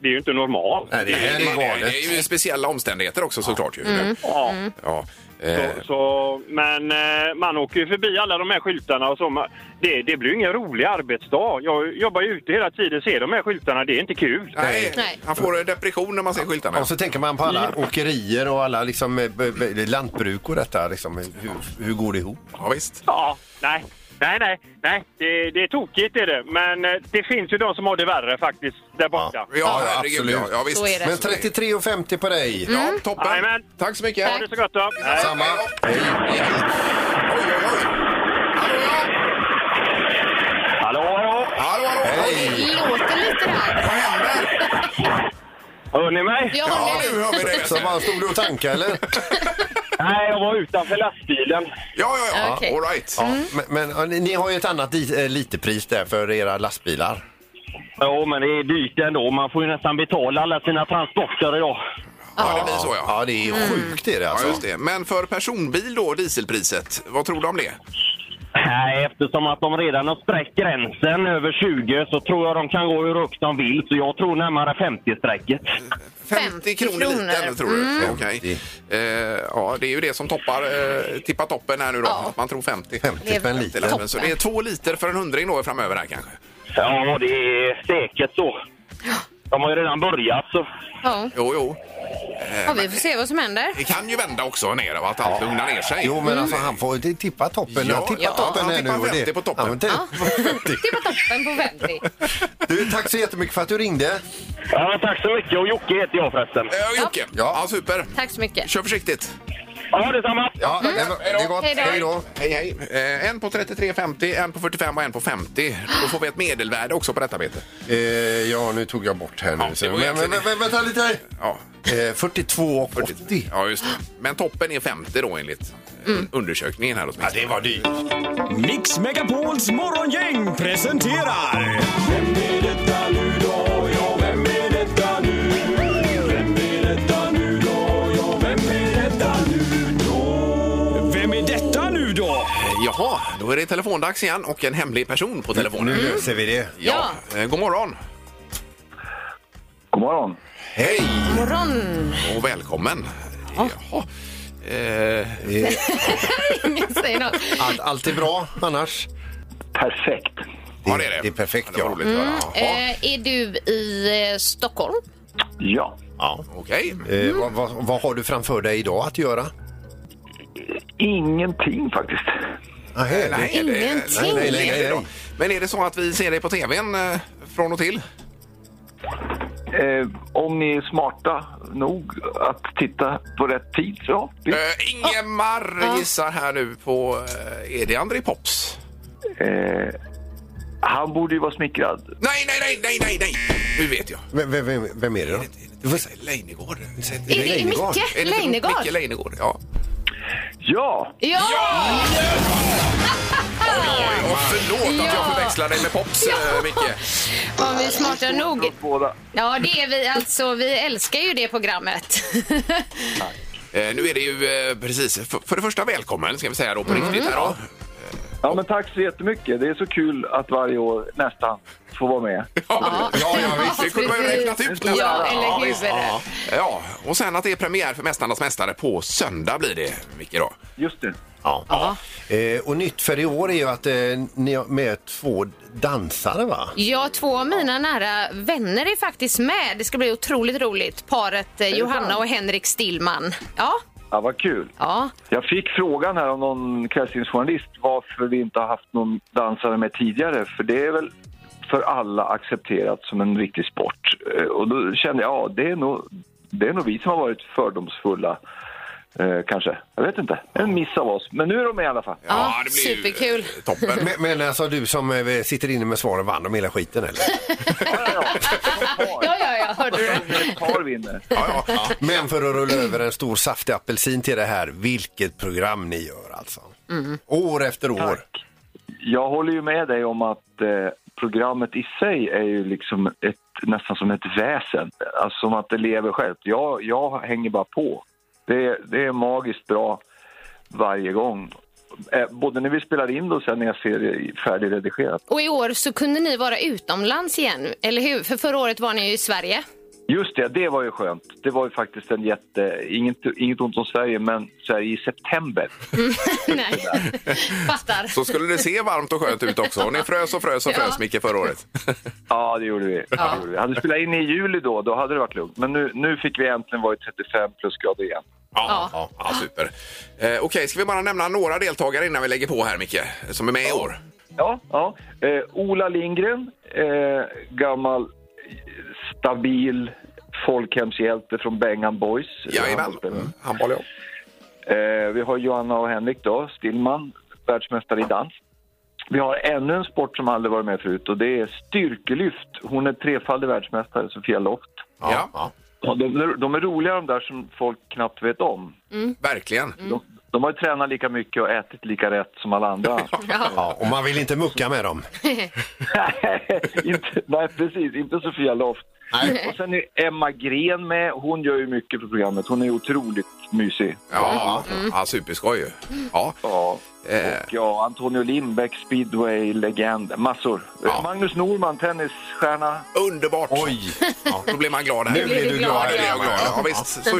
[SPEAKER 7] det är ju inte normalt.
[SPEAKER 6] Nej, det här är
[SPEAKER 4] det
[SPEAKER 6] galet.
[SPEAKER 4] är ju speciella omständigheter också såklart ju.
[SPEAKER 5] Mm.
[SPEAKER 7] Ja.
[SPEAKER 4] Ja. Eh,
[SPEAKER 7] Så, så, men eh, man åker ju förbi alla de här skyltarna och så. Man- Det, det blir ju ingen rolig arbetsdag. Jag jobbar ju ute hela tiden ser de här skyltarna. Det är inte kul.
[SPEAKER 4] Nej,
[SPEAKER 5] Nej.
[SPEAKER 4] han får depression när man ser skyltarna.
[SPEAKER 6] Och så tänker man på alla
[SPEAKER 4] Mm.
[SPEAKER 6] åkerier och alla liksom, eh, b- b- lantbruk och detta. Liksom, hur, hur går det ihop?
[SPEAKER 4] Ja, visst.
[SPEAKER 7] Ja, nej. Nej, nej, nej. Det, det är tokigt är det. Men eh, det finns ju de som har det värre faktiskt där borta.
[SPEAKER 4] Ja,
[SPEAKER 6] Ja,
[SPEAKER 4] herregud,
[SPEAKER 6] absolut.
[SPEAKER 4] Ja, ja, visst.
[SPEAKER 5] Så är det. Mm.
[SPEAKER 6] Men 33,50 på dig.
[SPEAKER 4] Ja, toppen.
[SPEAKER 7] Jajamän.
[SPEAKER 4] Tack så mycket.
[SPEAKER 7] Ha det så gott då. Nej.
[SPEAKER 6] Samma.
[SPEAKER 4] Hej. Oj, oj, oj. Hallå, ja.
[SPEAKER 7] Hallå, hallå!
[SPEAKER 4] Hallå, hallå.
[SPEAKER 6] Hej.
[SPEAKER 5] Det låter lite där.
[SPEAKER 4] Vad händer?
[SPEAKER 7] Hör ni mig?
[SPEAKER 5] Jag
[SPEAKER 4] Ja,
[SPEAKER 5] håller
[SPEAKER 4] nu hör vi det.
[SPEAKER 6] Så bara stod du och tankade eller?
[SPEAKER 7] Nej, jag var utanför lastbilen.
[SPEAKER 4] Ja, ja, ja.
[SPEAKER 5] Okej.
[SPEAKER 4] All right.
[SPEAKER 6] Ja, men, men ja, ni, ni har ju ett annat di- eh, litepris där för era lastbilar.
[SPEAKER 7] Jo, men det är dyrt ändå. Man får ju nästan betala alla sina transporter idag.
[SPEAKER 4] Ja, det blir så, ja. Mm.
[SPEAKER 6] Ja, det är sjukt är det
[SPEAKER 4] Ja,
[SPEAKER 6] alltså.
[SPEAKER 4] just det. Men för personbil då, dieselpriset, vad tror du om det?
[SPEAKER 7] Nej, eftersom att de redan har spräckt gränsen över 20 så tror jag de kan gå hur högt de vill. Så jag tror närmare 50-strecket.
[SPEAKER 4] 50 kronor
[SPEAKER 5] kronor.
[SPEAKER 4] litern, tror du? Okej. Eh, ja, det är ju det som toppar, eh, tippar toppen här nu då.
[SPEAKER 5] Ja.
[SPEAKER 4] Man tror 50.
[SPEAKER 6] 50 spänn
[SPEAKER 4] Till
[SPEAKER 6] liten.
[SPEAKER 4] exempel. Så det är två liter för en hundring då framöver här kanske.
[SPEAKER 7] Ja, det är säkert så. De har ju redan börjat så.
[SPEAKER 5] Ja.
[SPEAKER 4] Jo, jo.
[SPEAKER 5] ja, vi får se vad som händer.
[SPEAKER 4] Det kan ju vända också ner va? att allt lugnar ner sig. Mm.
[SPEAKER 6] Jo, men alltså han får det- tippa toppen.
[SPEAKER 4] Ja,
[SPEAKER 6] han tippar
[SPEAKER 4] ja,
[SPEAKER 6] toppen
[SPEAKER 4] han
[SPEAKER 6] här nu.
[SPEAKER 4] tippar
[SPEAKER 6] och det-
[SPEAKER 4] 50 på toppen.
[SPEAKER 6] Ja, men tipp- 50.
[SPEAKER 5] Det var toppen på 50.
[SPEAKER 6] Du, tack så jättemycket för att du ringde.
[SPEAKER 7] Ja, men tack så mycket. Och Jocke heter jag förresten.
[SPEAKER 4] Eh, Jocke, ja.
[SPEAKER 6] Ja.
[SPEAKER 4] super.
[SPEAKER 5] Tack så mycket.
[SPEAKER 4] Kör försiktigt.
[SPEAKER 7] Ja, detsamma!
[SPEAKER 6] Ja, det, var- det är gott.
[SPEAKER 5] Mm. Hej då.
[SPEAKER 6] Hej då.
[SPEAKER 4] Hej, hej. Eh, en på 33,50, en på 45 och en på 50. Då får vi ett medelvärde också på detta, Peter.
[SPEAKER 6] Eh, ja, nu tog jag bort här
[SPEAKER 4] Ja,
[SPEAKER 6] nu. Så,
[SPEAKER 4] det var
[SPEAKER 6] men, men,
[SPEAKER 4] egentligen-
[SPEAKER 6] men, vänta lite.
[SPEAKER 4] Ja.
[SPEAKER 6] Eh, 42,80.
[SPEAKER 4] Ja, just det. Men toppen är 50 då enligt mm. undersökningen här åtminstone.
[SPEAKER 6] var dyrt.
[SPEAKER 9] Mix Megapols morgongäng presenterar... Vem är detta nu då? Ja, vem är detta nu? Vem är detta nu då? Ja, vem är detta nu då? Vem är detta nu då?
[SPEAKER 4] Jaha, då är det telefondags igen och en hemlig person på telefonen.
[SPEAKER 6] Nu löser vi det.
[SPEAKER 4] Ja. Eh, God morgon!
[SPEAKER 1] God morgon.
[SPEAKER 4] Hej
[SPEAKER 5] Morgon.
[SPEAKER 4] och välkommen! Jaha. Eh,
[SPEAKER 5] Ingen säger något.
[SPEAKER 6] Allt, allt är bra annars.
[SPEAKER 1] Perfekt.
[SPEAKER 4] ja, det är det.
[SPEAKER 6] Det är perfekt,
[SPEAKER 4] Ja, det var
[SPEAKER 6] ja. Mm.
[SPEAKER 4] roligt att höra. Jaha,
[SPEAKER 5] Eh, är du i eh, Stockholm?
[SPEAKER 1] Ja.
[SPEAKER 6] ja.
[SPEAKER 4] Okej.
[SPEAKER 6] Eh, vad, vad, vad har du framför dig idag att göra?
[SPEAKER 1] Ingenting faktiskt.
[SPEAKER 6] Ah, hej,
[SPEAKER 4] Nej, det-
[SPEAKER 5] Ingenting.
[SPEAKER 4] nej, nej, nej, nej,
[SPEAKER 6] Nej.
[SPEAKER 4] Men är det så att vi ser dig på tvn eh, från och till?
[SPEAKER 1] Eh, om ni är smarta nog att titta på rätt tid så ja. visst.
[SPEAKER 4] Eh, Ingemar gissar här nu på... Eh, är det André Pops?
[SPEAKER 1] Eh, han borde ju vara smickrad.
[SPEAKER 4] Nej, nej, nej, nej, nej, nej! Nu vet jag.
[SPEAKER 6] Vem, vem, vem, vem är det då?
[SPEAKER 4] Du får säga Leijnegård. Är
[SPEAKER 5] Är det
[SPEAKER 6] Leijnegard.
[SPEAKER 5] Micke
[SPEAKER 4] det inte
[SPEAKER 5] Leijnegard?
[SPEAKER 4] Micke Leijnegard, ja.
[SPEAKER 1] Ja!
[SPEAKER 5] Ja!
[SPEAKER 4] Och förlåt att jag
[SPEAKER 5] Ja.
[SPEAKER 4] förväxlar dig med Pops, eh, Micke.
[SPEAKER 5] Om vi är smarta nog.
[SPEAKER 1] Åt båda.
[SPEAKER 5] Ja, det är vi. Alltså, vi älskar ju det programmet.
[SPEAKER 4] Eh, nu är det ju eh, precis, för, för det första välkommen ska vi säga då på
[SPEAKER 5] Mm.
[SPEAKER 4] riktigt här då.
[SPEAKER 1] Ja, men tack så jättemycket. Det är så kul att varje år nästan får vara med.
[SPEAKER 4] Ja, ja, ja visst, det kunde man ju
[SPEAKER 5] Precis.
[SPEAKER 4] räknat ut nästan.
[SPEAKER 5] Ja, eller hur?
[SPEAKER 4] visst.
[SPEAKER 5] är det?
[SPEAKER 4] Ja, och sen att det är premiär för Mästarnas Mästare på söndag blir det, Micke då.
[SPEAKER 1] Just det.
[SPEAKER 6] Ja. Eh, och nytt för i år är ju att eh, ni har med två dansare va?
[SPEAKER 5] Ja, två av mina nära vänner är faktiskt med. Det ska bli otroligt roligt. Paret eh, Johanna och Henrik Stillman. Ja,
[SPEAKER 1] Ja, vad kul.
[SPEAKER 5] ja.
[SPEAKER 1] Jag fick frågan här av någon kvällstidningsjournalist varför vi inte har haft någon dansare med tidigare. För det är väl för alla accepterat som en riktig sport. Eh, Och då kände jag, ja det är nog, det är nog vi som har varit fördomsfulla. Eh, kanske. Jag vet inte. En miss av oss. Men nu är de med i alla fall.
[SPEAKER 5] Ja,
[SPEAKER 4] det blir ju,
[SPEAKER 5] superkul.
[SPEAKER 4] eh, Toppen.
[SPEAKER 6] Men, men alltså du som eh, sitter inne med svaren vann om hela skiten eller?
[SPEAKER 5] ja, ja, ja hörde du?
[SPEAKER 1] Ett par vinner.
[SPEAKER 4] Ja, ja.
[SPEAKER 6] Men för att rulla över en stor saftig apelsin till det här, vilket program ni gör alltså.
[SPEAKER 5] Mm.
[SPEAKER 6] År efter år.
[SPEAKER 1] Jag håller ju med dig om att eh, programmet i sig är ju liksom ett, nästan som ett väsen. Alltså som att det lever självt. Jag, jag hänger bara på. Det, det är magiskt bra varje gång. Eh, både när vi spelar in och sen när jag ser det i- färdigredigerat.
[SPEAKER 5] Och i år så kunde ni vara utomlands igen, eller hur? För förra året var ni ju i Sverige.
[SPEAKER 1] Just det, det var ju skönt. Det var ju faktiskt en jätte... Inget, inget ont om Sverige, men så här i september.
[SPEAKER 5] Nej, fattar.
[SPEAKER 4] Så skulle det se varmt och skönt ut också. Och ni frös och frös och frös,
[SPEAKER 5] Ja.
[SPEAKER 4] Micke, förra året.
[SPEAKER 1] Ja, det gjorde vi. Det gjorde vi. Hade vi spelat in i juli då, då hade det varit lugnt. Men nu, nu fick vi äntligen vara i 35 plusgrader igen.
[SPEAKER 4] Ja, ja.
[SPEAKER 5] Ja.
[SPEAKER 4] super. Eh, Okej, ska vi bara nämna några deltagare innan vi lägger på här, Micke, som är med i år?
[SPEAKER 1] Ja, ja. Eh, Ola Lindgren, eh, gammal stabil folkhemshjälte från Bengan Boys.
[SPEAKER 4] Jajamän, Mm, handboll ja.
[SPEAKER 1] Eh, vi har Johanna och Henrik då, Stillman, världsmästare i dans. Vi har ännu en sport som aldrig varit med förut och det är styrkelyft. Hon är trefaldig världsmästare, Sofia Loft.
[SPEAKER 4] Ja,
[SPEAKER 1] Ja, de, de är roliga de där som folk knappt vet om.
[SPEAKER 4] verkligen.
[SPEAKER 1] De, de har ju tränat lika mycket och ätit lika rätt som alla andra.
[SPEAKER 6] Ja, och man vill inte mucka med dem.
[SPEAKER 1] nej, inte, nej, precis. Inte Sofia Loft. Och sen är Emma Gren med. Hon gör ju mycket för programmet. Hon är otroligt mysig.
[SPEAKER 4] Ja, ja superskoj ju. Ja.
[SPEAKER 1] Ja.
[SPEAKER 4] Eh,
[SPEAKER 1] Och ja, Antonio Lindbäck, speedway-legend. Massor.
[SPEAKER 4] Ja.
[SPEAKER 1] Magnus Norman, tennisstjärna.
[SPEAKER 4] Underbart!
[SPEAKER 6] Oj!
[SPEAKER 4] Ja, då blir man glad här.
[SPEAKER 6] Nu blir du glad.
[SPEAKER 4] Ja, det blir jag glad. Ja, visst. Så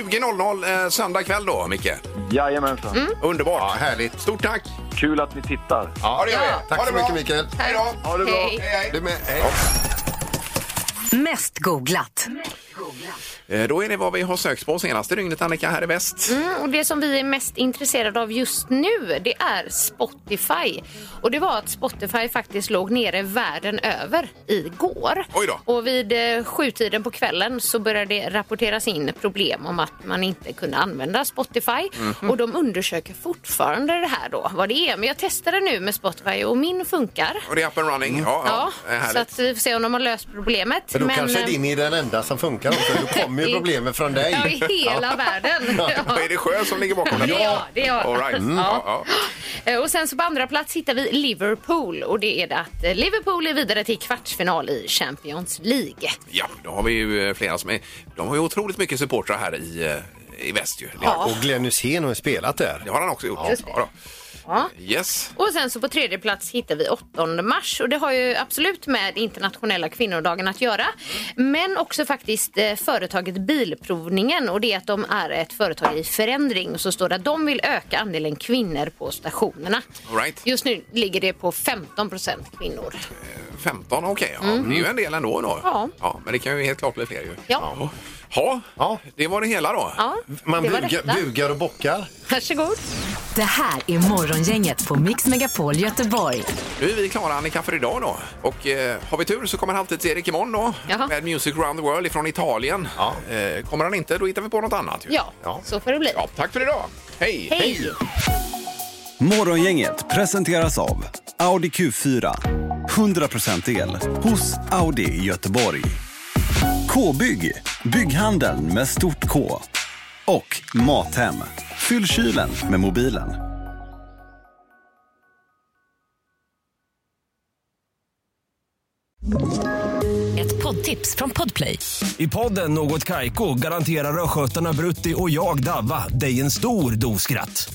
[SPEAKER 4] 20.00 eh, söndag kväll då, Micke.
[SPEAKER 1] Jajamensan.
[SPEAKER 4] Underbart!
[SPEAKER 6] Ja, härligt.
[SPEAKER 4] Stort tack!
[SPEAKER 1] Kul att ni tittar.
[SPEAKER 4] Ja, det gör vi.
[SPEAKER 6] Tack
[SPEAKER 4] Ha det
[SPEAKER 6] så
[SPEAKER 4] bra.
[SPEAKER 6] mycket, Mikael.
[SPEAKER 4] Hej då!
[SPEAKER 1] Ha det bra.
[SPEAKER 5] Hej.
[SPEAKER 4] Hej,
[SPEAKER 6] Du
[SPEAKER 4] hej.
[SPEAKER 6] med. Hej.
[SPEAKER 3] Mest googlat.
[SPEAKER 4] Eh, Då är det vad vi har sökt på senaste dygnet, Annika, här i väst.
[SPEAKER 5] Mm, och det som vi är mest intresserade av just nu det är Spotify. Och det var att Spotify faktiskt låg nere världen över igår.
[SPEAKER 4] Oj då.
[SPEAKER 5] Och vid eh, sjutiden på kvällen så började det rapporteras in problem om att man inte kunde använda Spotify.
[SPEAKER 4] Mhm.
[SPEAKER 5] Och de undersöker fortfarande det här då, vad det är. Men jag testade nu med Spotify och min funkar.
[SPEAKER 4] Och det är up and running. Ja, ja.
[SPEAKER 5] Ja,
[SPEAKER 4] Eh,
[SPEAKER 5] så
[SPEAKER 4] Härligt.
[SPEAKER 5] att vi får se om de har löst problemet.
[SPEAKER 6] Men då kanske
[SPEAKER 5] eh,
[SPEAKER 6] din är den enda som funkar också. Då kommer ju
[SPEAKER 5] i-
[SPEAKER 6] problemen från
[SPEAKER 5] Ja,
[SPEAKER 6] dig.
[SPEAKER 5] i hela världen. Ja.
[SPEAKER 4] Och Är det sjö som ligger bakom den?
[SPEAKER 5] Det är jag, det är Mm. jag.
[SPEAKER 4] All right. ja. Mm, Ja,
[SPEAKER 5] Eh, Och sen så på andra plats hittar vi Liverpool och det är det att eh, Liverpool är vidare till kvartsfinal i Champions League.
[SPEAKER 4] ja, då har vi ju eh, flera som är... De har ju otroligt mycket supportrar här i, eh, i väst ju.
[SPEAKER 5] Ja.
[SPEAKER 6] Och Glenn Hysén har ju spelat där.
[SPEAKER 4] Det har han också gjort.
[SPEAKER 5] Just det.
[SPEAKER 4] Ja, då.
[SPEAKER 5] Ja.
[SPEAKER 4] Yes.
[SPEAKER 5] Och sen så på tredje plats hittar vi 8 mars och det har ju absolut med internationella kvinnodagen att göra. Men också faktiskt eh, företaget Bilprovningen och det är att de är ett företag i förändring och så står det att de vill öka andelen kvinnor på stationerna.
[SPEAKER 4] All right.
[SPEAKER 5] Just nu ligger det på 15 procent kvinnor.
[SPEAKER 4] 15, okej. Ja, Det är ju en del ändå. Då.
[SPEAKER 5] Mm. Ja.
[SPEAKER 4] Men det kan ju helt klart bli fler. Ju.
[SPEAKER 5] Ja.
[SPEAKER 4] Ja.
[SPEAKER 6] Ja.
[SPEAKER 4] det var det hela då.
[SPEAKER 5] Ja,
[SPEAKER 6] Man
[SPEAKER 5] det var
[SPEAKER 6] bugar,
[SPEAKER 5] detta.
[SPEAKER 6] bugar och bockar.
[SPEAKER 5] Varsågod.
[SPEAKER 3] Det här är Morgongänget på Mix Megapol Göteborg.
[SPEAKER 4] Nu är vi klara, Annika, för idag. då. Och eh, Har vi tur så kommer Halvtids-Erik imorgon då,
[SPEAKER 5] Jaha.
[SPEAKER 4] med Music Round the World från Italien. Eh, kommer han inte, då hittar vi på något annat. Ju.
[SPEAKER 5] Ja, så får det bli.
[SPEAKER 4] Ja, tack för idag. Hej!
[SPEAKER 5] Hej!
[SPEAKER 9] Morgongänget presenteras av Audi Q4. 100% el hos Audi i Göteborg. K-bygg, bygghandeln med stort K. Och Mathem, fyll kylen med mobilen.
[SPEAKER 3] Ett poddtips från Podplay.
[SPEAKER 10] I podden Något Kaiko garanterar östgötarna Brutti och jag, Davva, dig en stor dos skratt.